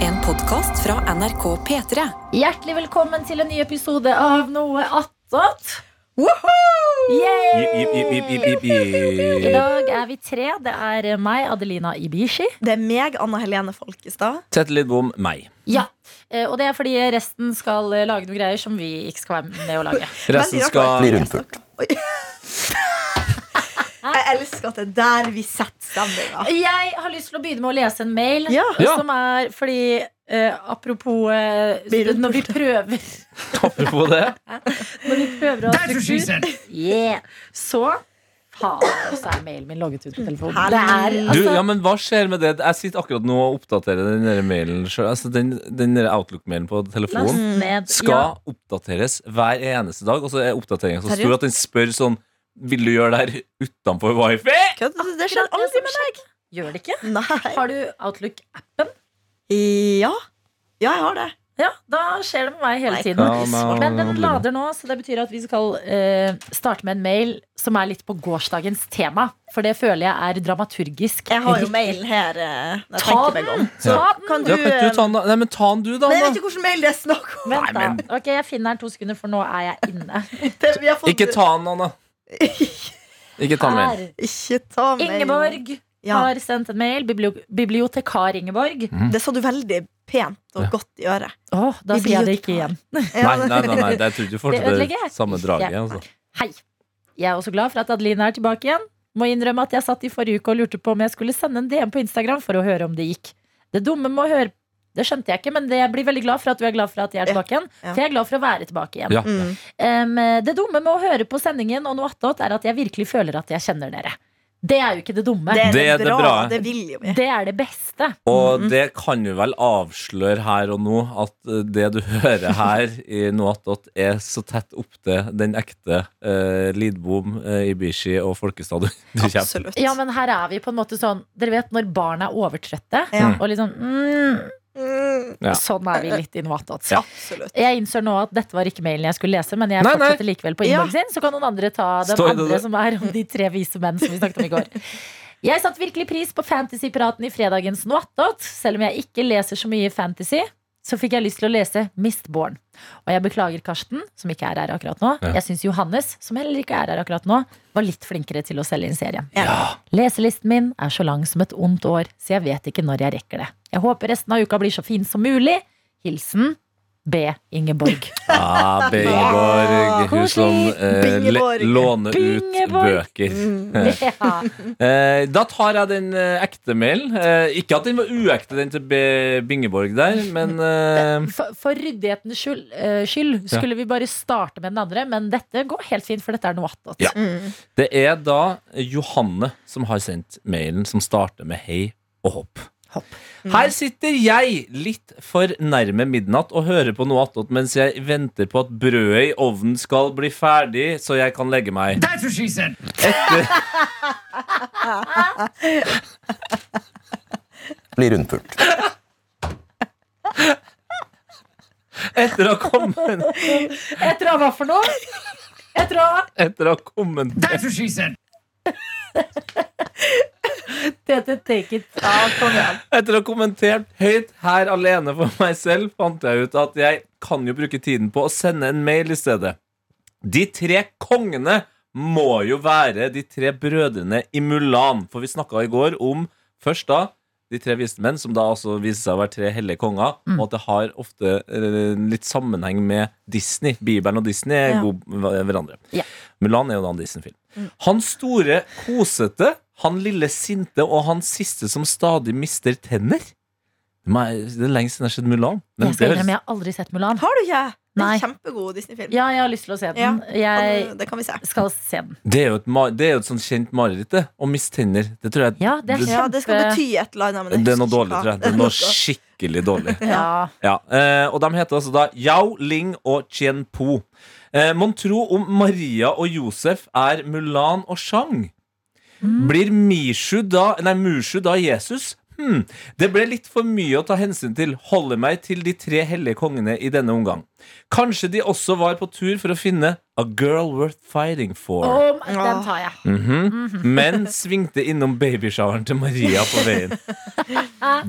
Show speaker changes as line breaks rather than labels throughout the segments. En podkast fra NRK P3.
Hjertelig velkommen til en ny episode av Noe attåt.
Jip, jip, jip, jip,
Yay!
jip, jip,
I
jip.
dag er vi tre. Det er meg, Adelina Ibishi.
Det er meg, Anna Helene Folkestad.
Tete Lidbom, meg.
Ja. Eh, Og det er fordi resten skal eh, lage noen greier som vi ikke skal være med å lage.
Resten
Veldig rart
skal
hva
Bli
jeg snakker
rundpult.
om. Oi. Jeg elsker at det er der vi setter stemninga.
Jeg har lyst til å begynne med å lese en mail. eh,
Ja.
Ja.
Som er fordi eh, Apropos eh,
Blir det
når vi prøver
toppe på det.
Når vi prøver å ha struktur, yeah. så Faen, så er mailen min logget ut på telefonen. Det er,
Du,
altså,
ja, men hva skjer med det? Jeg sitter akkurat nå og oppdaterer den der mailen selv. Altså, den, den der Outlook-mailen på
last
telefonen
ned. Ja.
skal oppdateres hver eneste dag. Og så er oppdateringen så stor
Seriøst?
at den spør sånn Vil du gjøre det her utenfor wifi?
Kødd?
Ah,
Det skjer aldri med deg.
Gjør det ikke?
Nei.
Har du Outlook-appen?
Ja. Ja, jeg har det.
Ja, da skjer det med meg hele
Nei.
tiden.
Ja, men-
Men den lader nå, så det betyr at vi skal eh, starte med en mail som er litt på gårsdagens tema. For det føler jeg er dramaturgisk.
Jeg har jo
riktig.
mailen her. eh, når jeg
Ta
tenker meg om.
Ta den!
Kan du,
Ja, kan ikke du ta den, da? Nei, men ta den du, da.
Men jeg vet
Anna.
ikke hvilken mail det er snakk om.
Vent, da. Ok, Jeg finner den to sekunder, for nå er jeg inne.
Det vi har fått-
Ikke ta den, Anna. Ikke ta mailen.
Her.
Ikke ta mailen.
Ingeborg
Ja,
har sendt en mail. Biblio bibliotekar Ingeborg.
det sa du veldig pent og
Ja.
godt i øret.
Åh, da sier jeg det ikke igjen.
Nei, nei, nei, nei, jeg trodde du
Det ødelegger
fortsatte
jeg.
samme draget.
Ja.
Altså.
Hei. Jeg er også glad for at Adeline er tilbake igjen. Må innrømme at jeg satt i forrige uke og lurte på om jeg skulle sende en DM på Instagram for å høre om det gikk. Det dumme med å høre Det skjønte jeg ikke, men det jeg blir veldig glad for at du er glad for at jeg er
Ja,
tilbake igjen.
ja.
For jeg er glad for å være tilbake igjen.
Ja.
Mm.
Em, det dumme med å høre på sendingen og noe attåt, er at jeg virkelig føler at jeg kjenner dere. Det er jo ikke det dumme.
Det
Det,
er
Det er
det
det
bra.
bra.
Det vil jo vi.
er det beste.
Og det kan jo vel avsløre her og nå at eh, det du hører her i Noatot, er så tett opptil den ekte eh, Lidbom, eh, Ibishi og Folkestad du, du kommer.
Absolutt.
Ja, men her er vi på en måte sånn Dere vet når barn er overtrøtte?
Ja.
Og liksom mm,
Mm,
Ja.
Sånn er vi litt i noe attåt.
Absolutt.
Jeg innser nå at dette var ikke mailen jeg skulle lese, men jeg
Nei, nei.
fortsetter likevel på
Ja.
innboksen sin. Så kan noen andre ta den
Står det
andre
der?
som er om de tre vise menn som vi snakket om i går. Jeg satte virkelig pris på Fantasypiraten i fredagens Noattot. Selv om jeg ikke leser så mye fantasy, så fikk jeg lyst til å lese Mistborn. Og jeg beklager Karsten, som ikke er her akkurat nå.
Ja.
Jeg syns Johannes, som heller ikke er her akkurat nå, var litt flinkere til å selge inn serien.
Ja.
Leselisten min er så lang som et ondt år, så jeg vet ikke når jeg rekker det. Jeg håper resten av uka blir så fin som mulig. Hilsen B. Ingeborg.
Ah, Bingeborg, hun som eh, le-
Bingeborg.
låner ut
Bingeborg.
bøker.
Mm.
Ja.
Eh, da tar jeg den eh, ekte mailen. Eh, ikke at den var uekte, den til B Bingeborg der, men eh,
For, for ryddighetens skyld, eh, skyld
Ja.
skulle vi bare starte med den andre, men dette går helt fint, for dette er noe attåt.
Ja.
Mm.
det er da Johanne som har sendt mailen, som starter med hei og hopp. Mm.
Hopp.
Her sitter jeg litt for nærme midnatt og hører på noe attåt mens jeg venter på at brødet i ovnen skal bli ferdig, så jeg kan legge meg.
Bli rundpult.
Etter å ha kommet
Etter å ha hva for noe? Etter å ha
Etter å ha kommet
Tete, take it.
Ja, kom igjen.
Etter å ha kommentert høyt her alene for meg selv, fant jeg ut at jeg kan jo bruke tiden på å sende en mail i stedet. De tre kongene må jo være de tre brødrene i Mulan, for vi snakka i går om først da de tre vismenn, som da altså viser seg å være tre hellige konger, og at det har ofte eh, litt sammenheng med Disney. Bibelen og Disney er
Ja.
gode med hverandre.
Ja.
Mulan er jo da en Disney-film. Han store kosete, han lille sinte og han siste som stadig mister tenner. Nei, Det er lenge siden jeg har sett Mulan. Men
Jeg skal
det høres-
innrømme, jeg har aldri sett Mulan.
Har du ikke? Det er
Nei.
en kjempegod Disney-film.
Ja, jeg har lyst til å se den.
Kan-
Jeg
Det kan vi se.
skal se den.
det, er jo et, ma- det er jo et sånn kjent mareritt, det. Å miste tenner. Det tror jeg
Ja, det er
Ja, det skal
kjempe...
bety et eller annet. men jeg
Det er noe
husker
dårlig,
ikke
tror jeg.
hva.
Det er noe skikkelig dårlig.
Ja.
Ja, eh, og de heter altså da Yao Ling og Chen Po. Eh, Mon tro om Maria og Josef er Mulan og Shang? Blir Mishu da, nei, Mushu da Jesus? Hm. Det ble litt for mye å ta hensyn til. Holder meg til de tre hellige kongene i denne omgang. Kanskje de også var på tur for å finne A Girl Worth Fighting For.
Om den tar jeg.
Mhm. Men svingte innom babyshoweren til Maria på veien.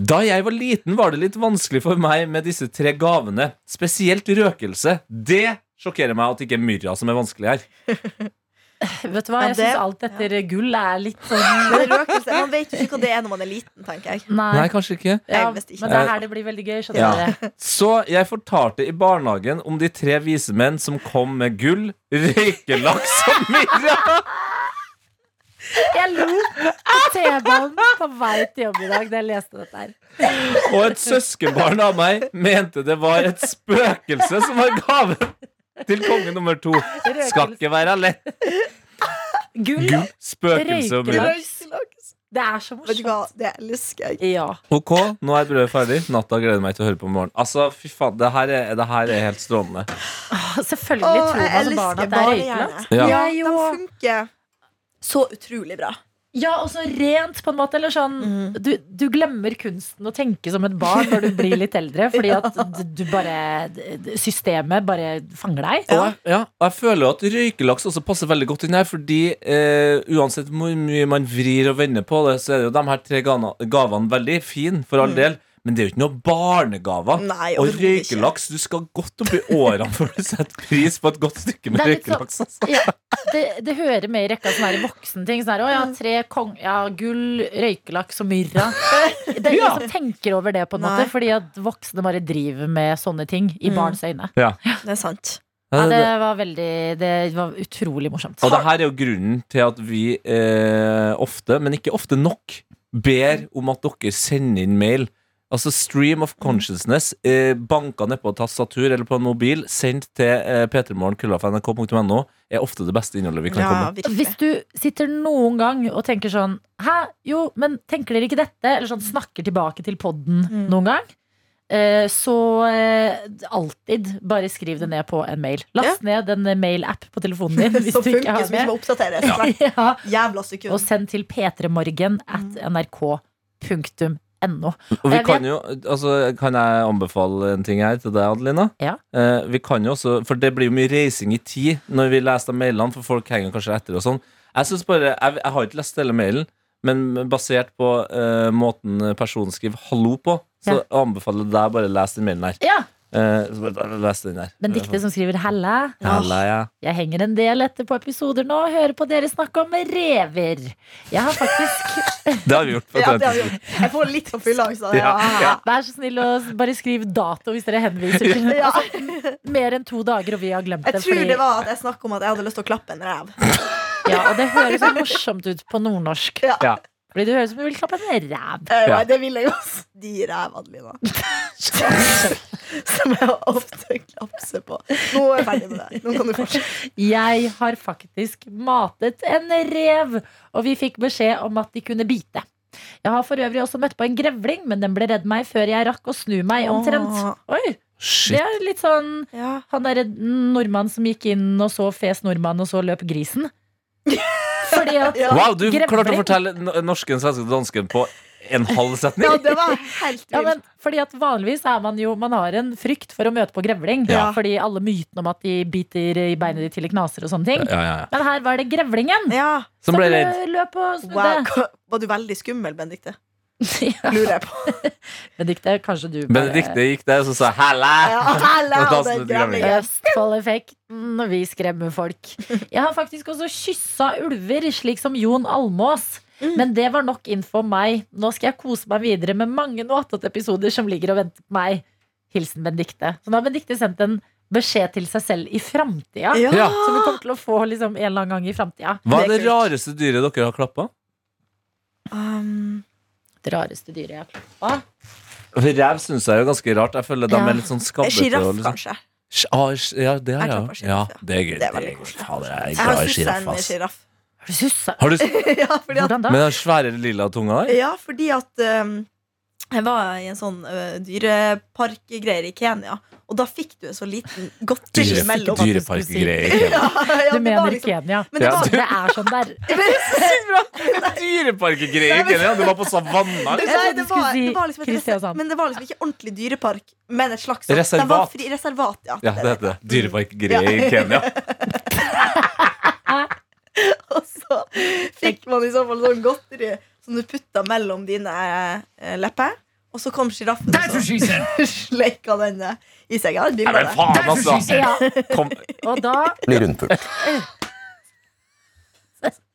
Da jeg var liten, var det litt vanskelig for meg med disse tre gavene. Spesielt røkelse. Det sjokkerer meg at det ikke er Myrra som er vanskelig her. Mm.
Vet du hva,
Ja,
Jeg
det-
syns alt etter gull er litt sånn
Men røkelse, man vet jo ikke hva det er når man er liten, tenker jeg.
Nei, kanskje ikke.
Ja,
Jeg
men
visste
det
ikke.
er her det blir veldig gøy. Skjønner
Ja.
dere?
Så jeg fortalte i barnehagen om de tre vismenn som kom med gull, røykelaks og Myrra.
Jeg lo på T-banen på vei til jobb i dag da jeg leste dette her.
Og et søskenbarn av meg mente det var et spøkelse som var gaven til konge nummer to. Skal ikke være lett.
Gull,
Gull, spøkelse og Myrra.
det er så
Vet
morsomt.
du hva, det elsker jeg.
Ja.
Ok, nå er brødet ferdig. Natta gleder jeg meg til å høre på i morgen. Altså, fy faen, det her er, det her er helt strålende.
Selvfølgelig
Å,
tror man
jeg
som
elsker
barn at det er
bare
røykelaks.
gjerne.
Ja.
Ja,
Jeg
de
jo.
funker så utrolig bra.
Ja, og så rent, på en måte. Eller sånn
Mhm.
du, du glemmer kunsten å tenke som et barn når du blir litt eldre, fordi at d- du bare d- Systemet bare fanger deg.
Og jeg, ja, og jeg føler at røykelaks også passer veldig godt inn her, fordi eh, uansett hvor mye man vrir og vender på det, så er det jo de her tre gana, gavene veldig fine, for all del. Men det er jo ikke noe barnegaver.
Nei,
og
overhodet ikke.
røykelaks, du skal godt opp i årene for å sette pris på et godt stykke med
Det er litt
røykelaks. altså.
Ja, det, det hører med i rekka som er i voksenting. Sånn her, å ja, tre kong... Ja, gull, røykelaks og myrra. Det er ingen som tenker over det, på en måte,
Nei.
fordi at voksne bare driver med sånne ting i
Mm.
barns øyne.
Det er sant.
Ja,
Ja,
det
det-
var veldig Det var utrolig morsomt.
Og det her er jo grunnen til at vi eh, ofte, men ikke ofte nok, ber om at dere sender inn mail. Altså Stream of Consciousness, eh, banka nedpå et tastatur eller på en mobil, sendt til eh, p3morgen.nrk.no, er ofte det beste innholdet vi kan komme
Ja,
med.
virkelig.
Hvis du sitter noen gang og tenker sånn Hæ, jo, men tenker dere ikke dette? Eller sånn snakker tilbake til podden
Mm.
noen gang. eh, Så eh, alltid bare skriv det ned på en mail. Last ned en mail-app på telefonen din. Hvis
Som
du ikke
funker,
har
som ikke
det.
må oppdateres. hvert
Ja,
Jævla
og
sekund.
send til p3morgen at nrk.no.
Og vi
Jeg
kan jo, altså Kan jeg anbefale en ting her til deg, Adelina?
Ja.
Eh, vi kan jo også, For det blir jo mye reising i tid når vi leser de mailene, for folk henger kanskje etter og sånn. Jeg synes bare, jeg, jeg har ikke lest hele mailen, men basert på eh, måten personen skriver 'hallo' på, så
Ja.
anbefaler jeg deg bare å lese den mailen her.
Ja,
Eh, så bare, bare les den der.
Men diktet som skriver 'Helle',
Hella, ja.
Jeg henger en del etter på episoder nå og hører på dere snakke om rever. Jeg har faktisk
Det har vi gjort. på
Ja, det har vi
Atlantis.
gjort. Jeg får litt for full angst av det.
Ja, ja.
Vær så snill å bare skriv dato hvis dere henviser til
Ja.
altså, mer enn to dager, og vi har glemt Altså, det.
Jeg tror
fordi-
det var at jeg snakket om at jeg hadde lyst til å klappe en rev.
ja, og det høres så morsomt ut på nordnorsk.
Ja.
Ja.
Fordi det høres ut som du vil klappe en ræv.
Eh,
Ja.
Nei, det vil jeg jo. De revene mine. Som jeg ofte klapser på. Nå er jeg ferdig med det. Nå kan du fortsette.
Jeg har faktisk matet en rev, og vi fikk beskjed om at de kunne bite. Jeg har for øvrig også møtt på en grevling, men den ble redd meg før jeg rakk å snu meg omtrent.
Åh.
Oi, det
Shit.
er litt sånn
Ja.
Han der nordmannen som gikk inn og så fes nordmannen, og så løp grisen. Fordi at
Ja.
Wow, du
Grevling.
klarte å fortelle n- norsken, svensken og dansken på en halv setning.
ja, det var helt
ja, men
vilt.
fordi at Vanligvis er man jo Man har en frykt for å møte på grevling.
Ja.
Fordi alle mytene om at de biter i beinet ditt til det knaser og sånne ting.
Ja, ja, ja.
Men her var det grevlingen eh,
Ja.
Som ble redd.
løp og snudde.
Wow. hva- Var du veldig skummel, Benedikte?
Ja.
Lurer jeg på.
Benedikte, kanskje du bare
Benedikte gikk der og så sa 'hæla'.
Ja, hele,
Da
og den
danset grevlingen.
grevlingen.
Østfold-effekten, vi skremmer folk. Jeg har faktisk også kyssa ulver, slik som Jon Almås.
Mm.
Men det var nok info om meg. Nå skal jeg kose meg videre med mange nåtete episoder som ligger og venter på meg. Hilsen Benedikte. Så nå har Benedikte sendt en beskjed til seg selv i framtida.
Ja.
Ja.
Som hun kommer til å få liksom, en eller annen gang i framtida.
Hva er
Det er
det
kult.
rareste dyret dere har klappa?
Um,
Det rareste dyret jeg har klappa.
Rev syns jeg er jo ganske rart. Jeg føler de
Ja.
er litt sånn skabbete.
Giraff,
og litt sånn-
kanskje.
Sj- ah, sj- Ja, det har
Jeg
jeg
klapper
òg.
giraff,
Ja,
ja.
det er gøy.
Det er veldig
gøy.
koselig.
Fader, jeg er
Jeg har
glad i
sussa
sjiraff,
en
ass.
sjiraff.
Har du sussa?
Har du s-
Ja, fordi at,
Hvordan da?
Med den svære lilla tunga der?
ja, fordi at um, Jeg var i en sånn ø, dyreparkgreier i Kenya, og da fikk du en så liten godteri
Dyre,
imellom.
dyre-
Ja,
Dyreparkgreier.
ja,
Du
det var
mener
liksom-
Kenya.
Men det
Ja,
var
du-
Det er sånn der.
Dyreparkgreier, ikke det? Du var på savanna.
Jeg trodde du
Det- Nei, det
liksom.
var,
skulle si
det var liksom et
Kristiansand.
reser, men det var liksom ikke ordentlig dyrepark, men et slags Det
Reservat.
var fri, reservat. Ja,
Ja, det heter det. Dyreparkgreier i Kenya.
Og så fikk man i så fall sånn godteri som du putta mellom dine eh, lepper. Og så kom sjiraffen og så sleika den eh, i seg. Ja, det
Nei,
blir
men
bra, det.
faen, altså!
Ja,
Kom.
og da
Blir rundpult.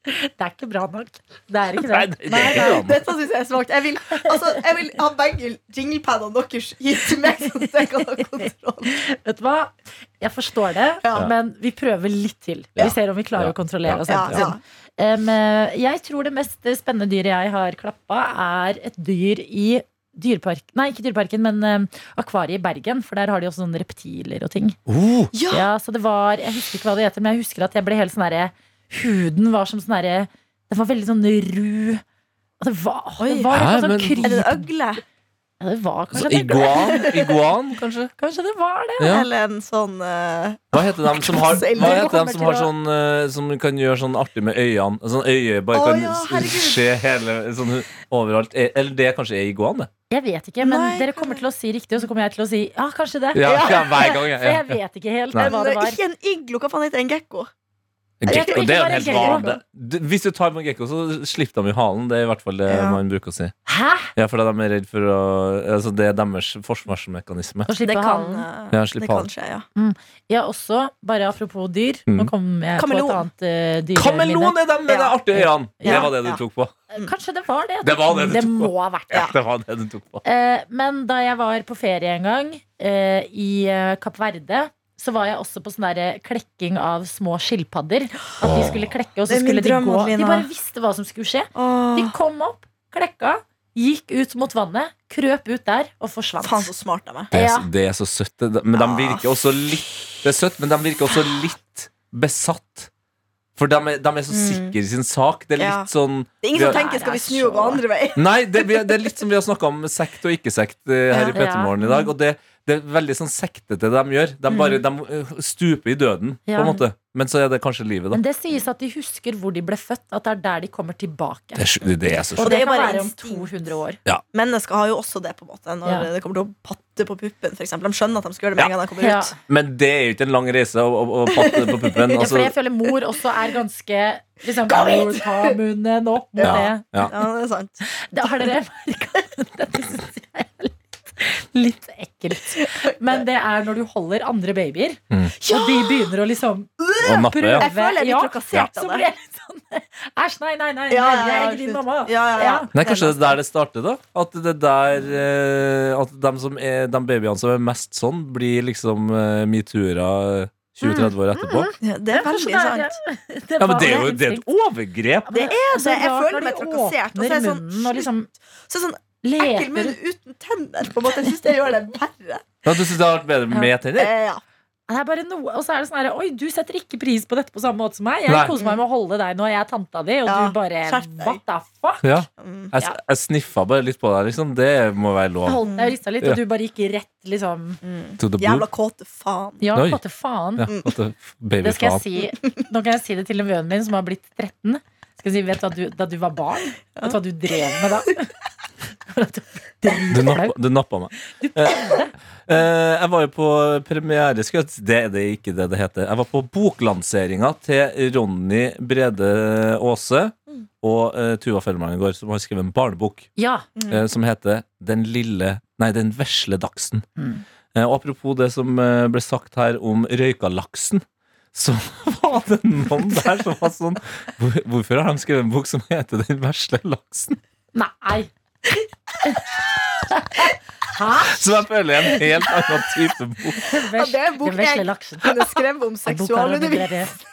Det er ikke bra nok. Det er ikke
Nei,
det.
det er ikke bra.
Dette syns jeg er svakt. Jeg, vil- altså, jeg vil ha begge jinglepadene deres gitt til meg, sånn at jeg kan ha kontroll.
Vet du hva? Jeg forstår det,
Ja.
men vi prøver litt til.
Ja.
Vi ser om vi klarer
Ja.
å kontrollere oss.
Ja,
hele
ja.
tiden. Em, eh, jeg tror det mest spennende dyret jeg har klappa, er et dyr i dyrepark Nei, ikke dyreparken, men em, akvariet i Bergen. For der har de også sånne reptiler og ting.
Oh,
Ja.
Ja, så det var, Jeg husker ikke hva det heter, men jeg husker at jeg ble helt sånn derre Huden var som sånn derre Den var veldig sånn ru. Og det var, det
Oi.
var
Hæ,
sånn
men-
kryp...
Er det en øgle?
Ja, det var kanskje
så
det.
iguan, iguan, kanskje?
Kanskje det var det.
Ja.
Eller en sånn eh,
Hva heter de som har,
Selv
hva heter
kommer
dem som,
til
har
å-
sånn, eh, som kan gjøre sånn artig med øynene? Sånn øye bare
Å,
kan
ja, herregud.
skje hele, sånn overalt. Eh, Eller det kanskje er iguan, det.
Jeg vet ikke, men
Nei,
dere kommer til å si riktig, og så kommer jeg til å si ja, kanskje det.
Ja, ja, hver gang, ja,
For
ja.
jeg vet ikke helt
Nei.
hva det
en,
var.
Ikke en iglo, hva faen heter det? en gekko?
Jeg tror
Gekko,
ikke
det er
bare
jo helt
gekko.
vanlig. Du- Hvis du tar med gekko, så slipper de i halen. Det er i hvert fall det
Ja.
man bruker å si.
Hæ?
Ja, for de er redd for å altså, Det er deres forsvarsmekanisme.
Å slippe
Det kan,
halen.
eh,
Ja, slipp
det
halen.
kan skje, ja.
Ja, også, bare apropos dyr, nå
Mm.
kom jeg
Kameleon.
på et annet eh, dyr.
Kameleon er dem med de
Ja.
artige øynene!
Ja.
Det var det du
Ja.
tok på.
Line. Kanskje det var det.
Det var det du tok på.
må ha vært det.
Ja. Det var det du tok på.
Eh, men da jeg var på ferie en gang eh, i eh, Kapp Verde, så var jeg også på sånn der klekking av små skilpadder. At de skulle klekke, og så
Det er min
skulle de
drøm,
gå. De
Adelina.
bare visste hva som skulle skje. De
Åh,
kom opp, klekka, gikk ut mot vannet, krøp ut der og forsvant.
faen, så smart av meg.
Det er,
Ja.
så- det er så søtt. det- det- Men de
Ah.
virker også litt Det er søtt, men de virker også litt besatt. For de er, de er så
Mm.
sikre i sin sak. Det er
Ja.
litt sånn
Det er ingen som
Vi har-
tenker 'skal vi snu
Det er
og gå
så-
andre vei'?
Nei, det, vi- det er litt som vi har snakka om sekt og ikke-sekt eh, her i
Ja. Mm.
Petermorgen i dag. Og det, det er veldig sånn sektete de gjør. De, bare, de eh, stuper i døden, på
Ja.
en måte. Men så er det kanskje livet, da.
Men det sies at de husker hvor de ble født, at det er der de kommer tilbake.
Det er, sj- det er så
og
det
sjukt.
det
er
kan
bare
være om
instinkt.
200 år.
Mennesker har jo også det, på en måte når
Ja.
det kommer til å patte på puppen. For eksempel. de skjønner at de skal gjøre det med en gang de kommer
Ja.
ut.
Men det er jo ikke en lang reise å, å, å patte på puppen.
Ja, for
Altså,
jeg føler mor også er ganske liksom,
Gå hit!
Ta munnen opp mot det.
ja, ja.
Ja, det er sant.
Det har dere merka. Dette syns jeg er litt, litt ekkelt. Men det er når du holder andre babyer, og de begynner å liksom
Og Mm. nappe, ja.
Jeg føler jeg blir
Ja.
trakassert
Så
av
blir
det.
jeg litt sånn Æsj, nei, nei, nei.
Ja, ja,
jeg
ja,
er ikke din
slutt.
mamma.
Ja, ja, ja.
Nei, Kanskje det er der det starter, da? At det der eh, At de, som er, de babyene som er mest sånn, blir liksom eh, metoo-ere 20-30 år etterpå?
Ja, Mm, det er veldig sant.
sant.
Ja, men det er jo det er et overgrep!
Det er
Altså,
det. Jeg føler meg trakassert. Og så
Åpner
er jeg sånn,
munnen og liksom
Så sånn ekkel munn
leter
uten tenner. På en måte. Jeg syns det gjør det verre.
Ja, du syns det har vært bedre med tenner?
Eh, ja.
Det er bare noe, og så er det sånn her Oi, du setter ikke pris på dette på samme måte som meg. Jeg
Nei.
koser meg med å holde deg nå, jeg er tanta di, og
Ja,
du bare
skjerp deg.
What the fuck?
Eh, Ja.
Mm.
Jeg, jeg sniffa bare litt på deg, liksom. Det må være lov.
Holdt deg og rista litt, og du bare gikk rett, liksom.
Mm.
To the boob.
Jævla kåte faen.
Ja,
Oi.
hva til faen?
Ja, what the f- baby
Det skal
faen.
jeg si. Nå kan jeg si det til en venn min som har blitt 13. Skal jeg si, vet du, at du, Da du var barn, vet du hva du drev med da? For at du
Du
driter deg
nappa,
ut.
du nappa meg. Eh, eh, jeg var jo på premiere skal jeg- Det er det ikke det det heter. Jeg var på boklanseringa til Ronny Brede Aase og eh, Tuva Fellmann i går, som har skrevet en barnebok
Ja.
eh, som heter Den lille Nei, Den vesle dagsen.
Mm.
Eh, og apropos det som eh, ble sagt her om røykalaksen. Så var det noen der som var sånn hvor, Hvorfor har de skrevet en bok som heter Den vesle laksen?
Nei. Hæ?
Så jeg føler jeg er en helt annen type bok.
det er en bok
Den vesle
jeg-
laksen.
Kunne skrevet om
Den boka er
seksualundervisning.
bedre.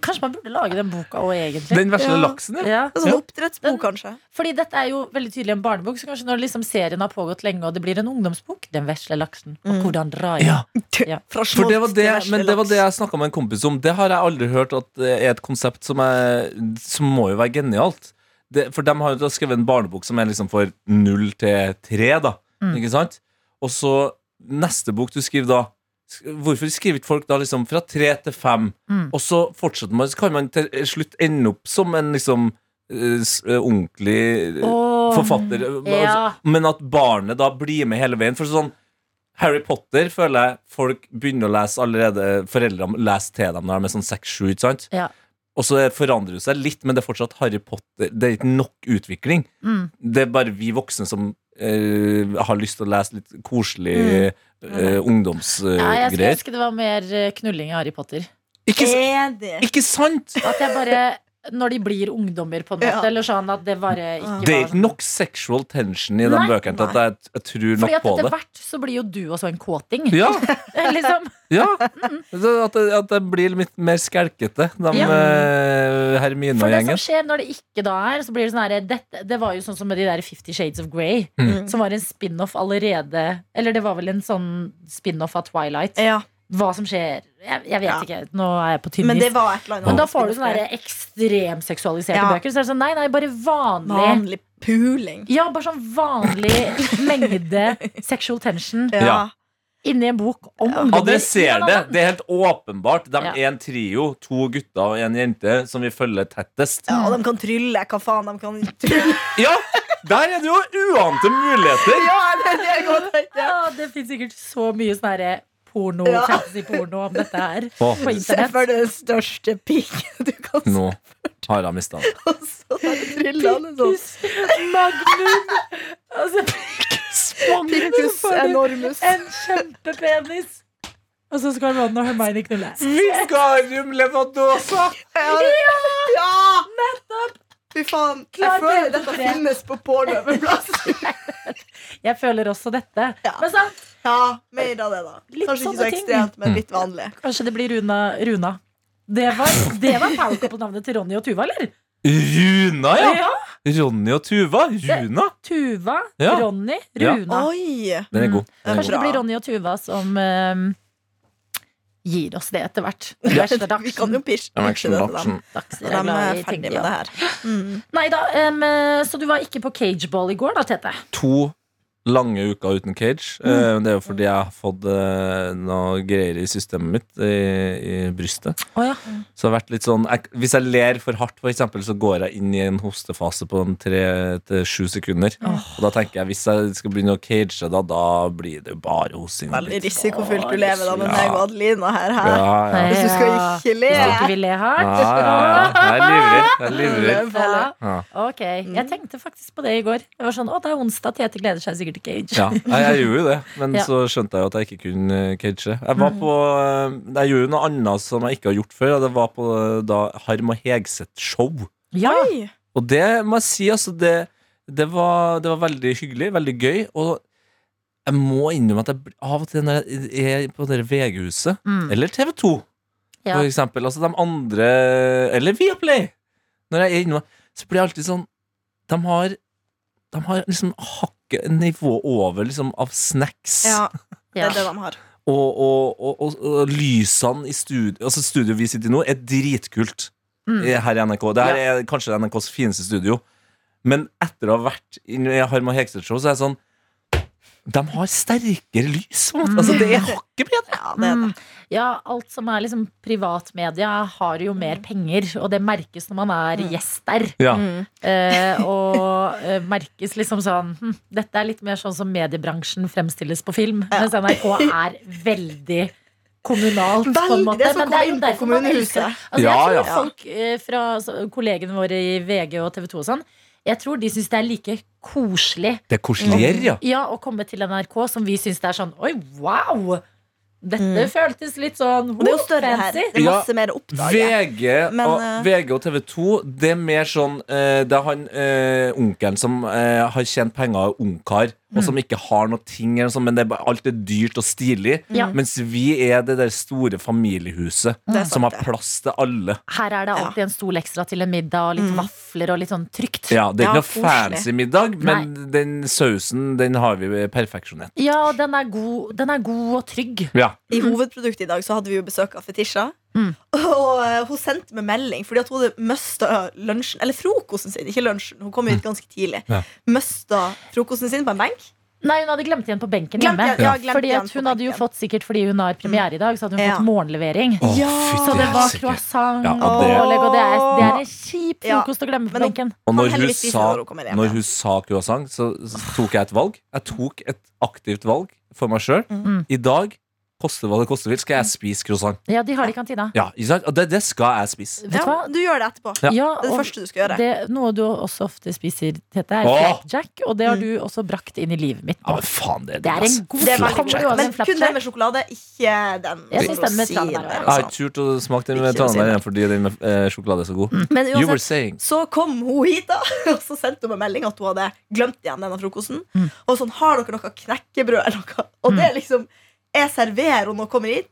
Kanskje man burde lage den boka òg, egentlig.
Den vesle
Ja.
laksen, ja.
Ja.
En Sånn oppdrettsbok, kanskje.
Fordi dette er jo veldig tydelig en barnebok, så kanskje når liksom serien har pågått lenge, og det blir en ungdomsbok, Den vesle laksen,
Mm.
og hvordan dra inn
Ja,
Ja.
Fra
For
smolt
det var
til
det,
vesle
men det var
laks.
det jeg snakka med en kompis om. Det har jeg aldri hørt at eh, er et konsept som, er, som må jo være genialt. det, For de har jo da skrevet en barnebok som er liksom for null til tre, da.
Mm.
Ikke sant? Og så neste bok du skriver da sk- Hvorfor skriver ikke folk da liksom fra tre til fem?
Mm.
Og så fortsetter man, så kan man til slutt ende opp som en liksom eh, s- eh, ordentlig eh,
Åh,
forfatter.
ja.
Men at barnet da blir med hele veien. For sånn Harry Potter føler jeg folk begynner å lese allerede Foreldrene leser til dem når de er sånn seks-sju. ikke sant?
Ja.
Og så forandrer det seg litt, men det er fortsatt Harry Potter. Det er ikke nok utvikling.
Mm.
Det er bare vi voksne som eh, har lyst til å lese litt koselig
Nei,
eh,
Mm. jeg skulle
ungdomsgreier.
ønske det var mer eh, knulling i Harry Potter.
ikke, s-
Enig.
ikke sant?!
At jeg bare Når de blir ungdommer, på en måte.
Ja.
Eller sånn at det bare ikke
Det er
var
ikke nok sexual tension i de
Nei,
bøkene til at jeg, jeg tror
Fordi
nok
at
på
etter
det.
hvert så blir jo du også en kåting.
Ja,
liksom.
ja. Så At, det, at det blir litt mer skelkete, de
Ja.
eh,
For
Hermine og
det som
gjengen.
skjer når det ikke da er, så blir det sånn her dette, Det var jo sånn som med de der Fifty Shades of Grey,
Mm.
som var en spin-off allerede Eller det var vel en sånn spin-off av Twilight.
Ja,
Hva som skjer, jeg, jeg vet
Ja.
ikke. Nå er jeg på tynn
men det
is.
var et eller annet.
Men da får du sånn sånne der ekstremt seksualiserte
Ja.
bøker. Så er det sånn, nei, nei, bare vanlig.
Vanlig puling.
Ja, bare sånn vanlig mengde sexual tension
Ja.
Ja.
inni en bok om ungdommer.
Adresser det! Det er helt åpenbart. De
Ja.
er en trio, to gutter og en jente, som vi følger tettest.
ja, og de kan trylle. Hva faen, de kan trylle.
Ja! Der er det jo uante muligheter!
Ja, det er det jeg godt tenker.
Ja, det finnes sikkert så mye sånn her porno,
Ja.
fantasy-porno om dette her
Å,
på
Se
internett.
for deg den største pikken du kan
nå har jeg mista den.
Og så tryller han en sånn.
Magnum. Altså,
Pictus enormus.
en kjempepenis. Og så skal Ron og Hermione knulle.
Viscarium levadosa!
Ja! ja! Fy faen.
Klar,
Jeg føler
delt
dette
på tre.
finnes på porno en plass.
Jeg føler også dette.
Ja.
Men sant,
Ja, mer av det, da.
Litt
Kanskje ikke
sånne
så
ting.
ekstremt,
Mm.
men litt vanlig.
kanskje det blir Runa. Runa. Det var, det var powercop på navnet til Ronny og Tuva, eller?
Runa, ja! Ronny og Tuva. Runa.
Tuva,
Ja.
Ronny,
Ja.
Runa.
Oi!
Den er
Mm.
god. Den er
Kanskje
god.
det blir Ronny og Tuva som ehm, gir oss det etter hvert. Verste
Vi kan jo
dagsrevyen.
pitche
Ja, men
pitche Mm, det til dem.
action.
Når de er
Dagsrevyen.
ferdige med det her. Mm.
Nei da, ehm, så du var ikke på cageball i går da, Tete?
To lange uker uten cage. Eh, Det er jo fordi jeg har fått eh, noe greier i systemet mitt, i, i brystet.
Å ja.
Så det har vært litt sånn jeg, Hvis jeg ler for hardt, for eksempel, så går jeg inn i en hostefase på en tre til sju sekunder. Og da tenker jeg hvis jeg skal begynne å cage, da, da blir det jo bare hosting. og
Veldig
litt-
risikofylt du lever da med
Ja.
meg og Adelina her. her.
Ja, ja.
Hvis du skal ikke le.
Hvis du ikke vil le hardt?
Ja, ja, ja. Jeg er livredd. Jeg er livredd.
Ja.
Ja.
Ok, jeg tenkte faktisk på det i går. Jeg var sånn, å det er onsdag, Tete gleder seg sikkert til Cage.
Ja, jeg, jeg gjorde jo det, men
Ja.
så skjønte jeg jo at jeg ikke kunne eh, cage. Jeg var på eh, Jeg gjorde jo noe annet som jeg ikke har gjort før. og Det var på eh, da Harm og Hegseth-show.
Ja.
Oi.
Og det må jeg si, altså det, det, var, det var veldig hyggelig, veldig gøy. Og jeg må innrømme at jeg bl- av og til når jeg er på det der VG-huset,
Mm.
eller TV 2
Ja.
for eksempel, altså de andre Eller Viaplay! Når jeg er innom, så blir jeg alltid sånn De har, de har liksom hakket nivået over liksom, av snacks
Ja, det
Ja.
er det de har.
og, og, og, og, og lysene i studio Altså studioet vi sitter i nå er dritkult
Mm.
eh, Her i NRK Det her er kanskje NRKs fineste studio Men etter å ha vært inne i Harma Hegseth Show Så er jeg sånn De har sterkere lys på en måte.
Mm.
Altså det er hakket bedre
Ja, det er det.
Ja, alt som er liksom privatmedia har jo mer penger, og det merkes når man er
Mm.
gjest der.
Ja.
Eh, og eh, merkes liksom sånn hm, Dette er litt mer sånn som mediebransjen fremstilles på film. Mens NRK er veldig kommunalt, på en
Veldig,
måte.
det
Men
sånn som kommer
jo
inn på
derfor man
kommunehuset.
elsker- Altså,
Ja,
jeg tror
ja.
folk eh, fra så- kollegene våre i VG og TV 2 og sånn, jeg tror de syns det er like koselig
Det er korsler, ja
ja, å komme til NRK som vi syns det er sånn Oi, wow! Dette føltes litt sånn
Mm. Og det er jo
oh,
større her.
fancy.
Det er masse mer å oppdage.
VG,
Men,
og,
eh,
VG og TV 2 Det er mer sånn eh, Det er han eh, onkelen som eh, har tjent penger av ungkar Og
Mm.
som ikke har noe ting eller noe sånt, Men det er bare, alt er dyrt og stilig
Ja.
Mens vi er det der store familiehuset
Mm. Det er sant,
Som har
det.
plass til alle
Her er det alltid en stol ekstra til en middag, og
Mm.
litt vafler og litt sånn trygt.
Ja, det er
Ja,
ikke noe fancy middag Men den sausen, den har vi perfeksjonert
Ja, den er god, den er god og trygg.
Ja,
I hovedproduktet i dag så hadde vi jo besøk av Fetisha.
Mhm. Mm.
Og eh, hun sendte meg melding fordi at hun hadde mista lunsjen Eller frokosten sin, ikke lunsjen. Hun kom hit
Mm.
ganske tidlig.
Ja.
Mista frokosten sin på en benk.
Nei, hun hadde glemt igjen på benken
Glemt
hjemme.
igjen- ja, glemt
fordi
igjen
at
på
hun hadde jo
benken.
fått sikkert fordi hun har premiere i dag, så hadde hun
Ja.
fått morgenlevering.
Å,
Ja.
fytti
Så det var
helsike.
croissant
Ja,
og
det-
pålegg, og det er, det er en kjip
Ja.
frokost å glemme på
Men nå-
benken.
Og
Kan
når hun,
heldigvis vise
sa,
når hun kommer hjem,
når
ja.
hun sa croissant, så, så tok jeg et valg. Jeg tok et aktivt valg for meg sjøl.
Mm.
I dag, koste hva det koste vil, skal jeg spise croissant.
Ja, de har det i kantina.
Ja, ikke sant? Og det, det skal jeg spise.
Vet du hva?
du gjør det etterpå.
Ja.
Ja,
Det er det
og
første du skal gjøre.
det, noe du også ofte spiser, Tete, er
Åh!
flapjack, og
Mm.
det har du også brakt inn i livet mitt.
Ja, men faen, det er
Det er en god
Det er veldig
Kommer du
godt.
over
Men
en
kun den
flapjack?
med sjokolade, ikke den
Jeg synes den med
rosinen
tranebær
der,
var
Jeg har
altså.
ikke turt å smake den med
Ikke å si
tranebær
det.
igjen fordi den med eh, sjokolade er så
Mm.
god.
Men
You were
uansett,
saying
så kom hun hit, da og så sendte hun meg melding at hun hadde glemt igjen denne frokosten.
Mm.
Og sånn, har dere noe knekkebrød eller noe? Og det er liksom Jeg serverer henne og kommer hit.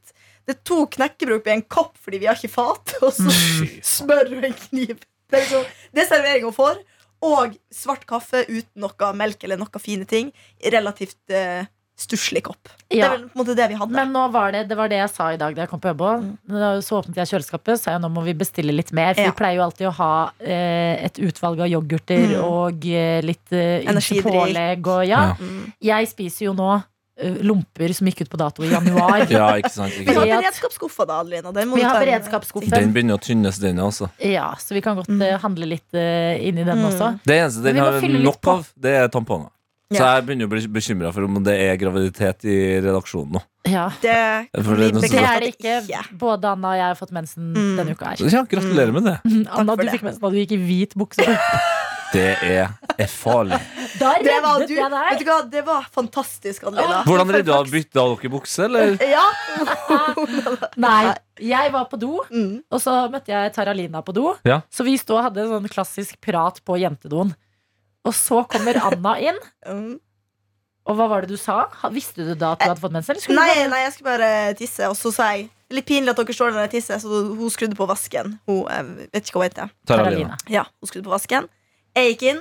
Det er to knekkebrød oppi en kopp fordi vi har ikke fat. Og så
Mm.
smør og en kniv. Det er, liksom, det er servering hun får. Og svart kaffe uten noe melk eller noe fine ting. i Relativt eh, stusslig kopp. Det
Ja.
er vel på en måte det vi hadde.
Men nå var det, det var det jeg sa i dag da jeg kom på jobb. også. Da Så åpnet jeg kjøleskapet, sa jeg nå må vi bestille litt mer. For
Mm. Ja.
vi pleier jo alltid å ha eh, et utvalg av yoghurter
Mm.
og eh, litt eh, ymse
Energidrikk.
pålegg og ja.
Ja.
Mm.
Jeg spiser jo nå eh, lomper som gikk ut på dato i januar.
Ja, ikke sant?
Vi har
Ikke sant?
Fordi at-
beredskapsskuffa, da, Adelina. Den må
Vi
du
har
ta en-
beredskapsskuffen.
Den begynner å tynnes, den også.
Ja, så vi kan godt eh, handle litt eh, inni den
Mm.
også.
Det eneste
Men
den
vi må
har
fylle litt
nok
på.
av, det er tamponger. Så
Ja.
jeg begynner å bli bekymra for om det er graviditet i redaksjonen nå.
Ja.
Det,
For det
vi
er noe som-
Det
bekrefter
er det ikke. Både Anna og jeg har fått mensen
Mm.
denne uka her.
Ja, gratulerer med det.
Anna,
for
du
det.
fikk mensen da du gikk i hvit bukse.
Det er, er farlig.
Da
Det var,
reddet
du,
jeg
vet
deg.
du hva, det var fantastisk, Adelina.
Hvordan redda bytta dere bukse, eller?
Ja.
Nei, jeg var på do.
Mm.
Og så møtte jeg Taralina på do.
Ja.
Så vi stod og hadde en sånn klassisk prat på jentedoen. Og så kommer Anna inn.
Mm.
Og hva var det du sa? Ha- Visste du da at du hadde fått mensen? eller skulle du
Nei,
bare-
nei, jeg skulle bare tisse, og så sa jeg Litt pinlig at dere står der og tisser, så hun skrudde på vasken. Hun, jeg vet ikke hva hun heter.
Taralina.
Ja, hun skrudde på vasken. Jeg gikk inn,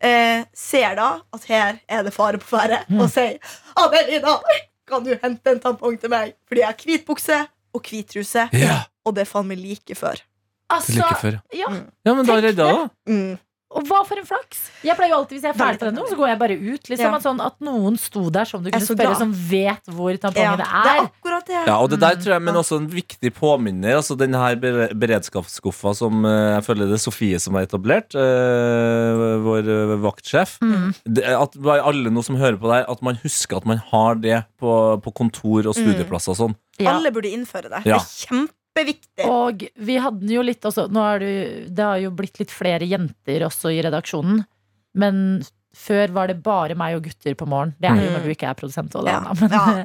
eh, ser da at her er det fare på ferde,
Mm.
og sier Adelina, kan du hente en tampong til meg? Fordi jeg har hvit bukse og hvit truse,
Ja,
og det er faen meg like før.
Altså,
like før.
ja.
Ja, men da redda jeg, da.
Mm.
Og hva for en flaks! Jeg pleier jo alltid, Hvis jeg er ferdig på den doen, så går jeg bare ut. Liksom,
Ja.
at, sånn, at noen sto der som du
Jeg er
kunne
så
spørre,
glad.
som vet hvor
Ja,
tampongene
det er
er.
akkurat det.
Ja, og det der
Mm.
tror jeg, men også en viktig påminner Altså den her bere- beredskapsskuffa som eh, jeg føler det er Sofie som har etablert, eh, vår eh, vaktsjef.
Mm.
Det, at bare alle nå som hører på der, at man husker at man har det på, på kontor og
Mm.
studieplasser og sånn.
Ja.
Alle burde innføre det.
Ja.
Det er kjempeviktig.
Og vi hadde den jo litt også nå er det, jo- det har jo blitt litt flere jenter også i redaksjonen. Men før var det bare meg og gutter på morgen. Det er det jo
Mm.
når du ikke er produsent. Og det,
Ja.
Anna, men,
Ja.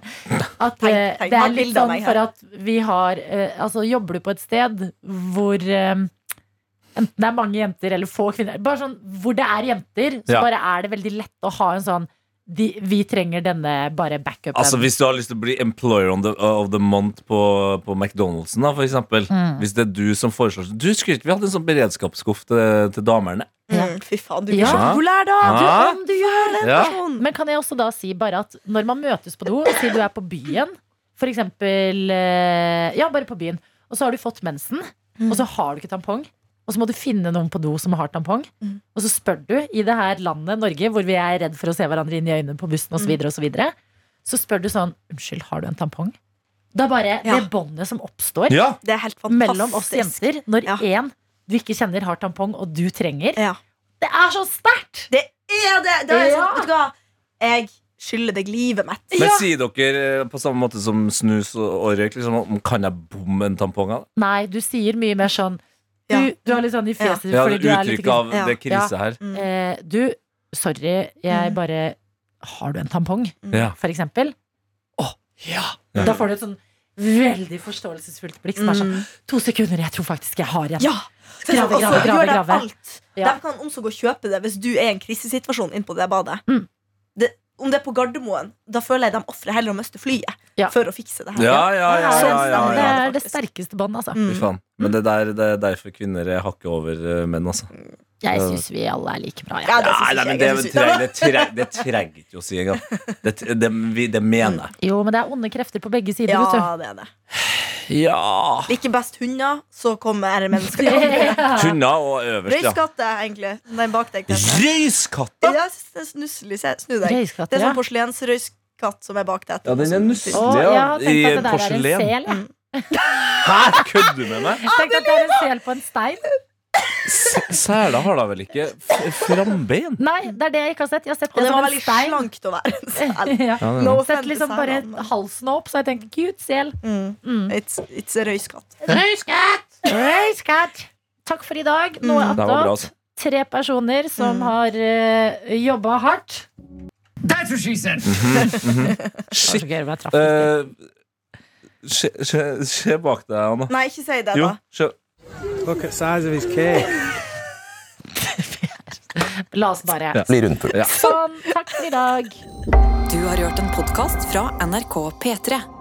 At
Tenk-
eh,
tenk,
det
ha
er
et
litt
bilde av
sånn
meg her.
for at vi har eh, Altså, jobber du på et sted hvor eh, Enten det er mange jenter eller få kvinner. Bare sånn, Hvor det er jenter, så
Ja.
bare er det veldig lett å ha en sånn de, Vi trenger denne bare backupen.
Altså Hvis du har lyst til å bli employer on the, uh, of the month på, på McDonald'sen, da, for eksempel.
Mm.
Hvis det er du som foreslår Du skulle ikke vi hatt en sånn beredskapsskuff til, til damene?
Mm, fy faen, du blir
Ja.
så populær, da!
Du,
Ja.
om du gjør det!
Ja.
Sånn.
Men kan jeg også da si bare at når man møtes på do, si du er på byen, for eksempel eh, Ja, bare på byen. Og så har du fått mensen,
Mm.
og så har du ikke tampong. Og så må du finne noen på do som har tampong.
Mm.
Og så spør du i det her landet Norge, hvor vi er redd for å se hverandre inn i øynene på bussen
Mm.
osv., så, videre, så spør du sånn Unnskyld, har du en tampong? Da bare
Ja.
Det båndet som oppstår
Ja!
Det er helt fantastisk.
mellom oss jenter når
Ja.
én du ikke kjenner, har tampong, og du trenger.
Ja.
Det er så sterkt!
Det er det! det er
Ja.
sånn, vet du hva? Jeg skylder deg livet mitt.
Men sier dere eh, på samme måte som snus og, og røyk liksom, om, Kan jeg bomme en tampong av det?
Nei, du sier mye mer sånn Du,
Ja.
du er litt sånn i fjeset
Ja,
fordi
det
du er litt
uttrykket av
Ja.
det krise her.
eh, Du, sorry, jeg
Mm.
bare Har du en tampong,
Ja.
for eksempel?
ja.
Da får du et sånn veldig forståelsesfullt blikk som er sånn
Mm.
To sekunder, jeg tror faktisk jeg har en.
Ja! Så
Grave,
altså,
grave, grave,
gjør dem
grave.
alt.
Ja.
De kan omsorg og kjøpe det hvis du er i en krisesituasjon inne på det badet.
Mm.
Det, om det er på Gardermoen, da føler jeg de ofrer heller å miste flyet
Ja.
for å fikse det her.
Ja, ja, ja, ja, ja,
Sånn, Det
ja.
er det sterkeste bånd, altså.
Mm.
Fy faen. Men det, der, det er derfor kvinner er hakket over eh, menn, altså.
Jeg syns vi alle er like bra.
Ja,
Ja.
det synes
Nei,
ikke jeg.
nei, men det,
Jeg synes-
trenger- det, trenger- det trenger ikke å si engang. Det, det, det, vi- det mener jeg.
Jo, men det er onde krefter på begge sider,
Ja,
vet du.
det er det.
Ja
Liker best hunder, så kommer ære mennesker.
Ja.
Hunder og øverst, ja.
Røyskatte, egentlig. Den bak deg. Tete.
Røyskatta!
Ja, jeg synes det er snusselig. Se, Snu deg.
Røyskatt,
Det er
ja.
sånn porselensrøyskatt som er Sånn bak deg.
Ja, den er nusselig.
Å,
Det er
jeg har tenkt
i
at det der er en
porselen.
sel. jeg.
Hæ? Kødder du med meg?
Tenk at det er en sel på en stein.
S- Seler har da vel ikke f- frambein?
Nei, det er det jeg ikke har sett. Jeg har sett
Og
det
det
som
var
en
veldig
stein.
slankt å være en sel.
ja.
Ja, det
No
er det.
Sett
offense,
liksom
sa
bare
han, men-
halsen opp, så jeg tenker cute sel.
Mm.
Mm.
It's, it's a røyskatt.
Røyskatt! Takk for i dag. Nå
Mm.
er
Det var bra, altså.
attåt tre personer som
Mm.
har uh, jobba hardt.
That's what she said.
Shit.
Shit. Eh, se, se, se bak deg, Anna.
Nei, ikke si det,
Jo,
da.
se.
Look at size of his cake.
La oss bare
Eh, Ja.
Bli rundpult.
Sånn. Takk for i dag.
Du har hørt en podkast fra NRK P3.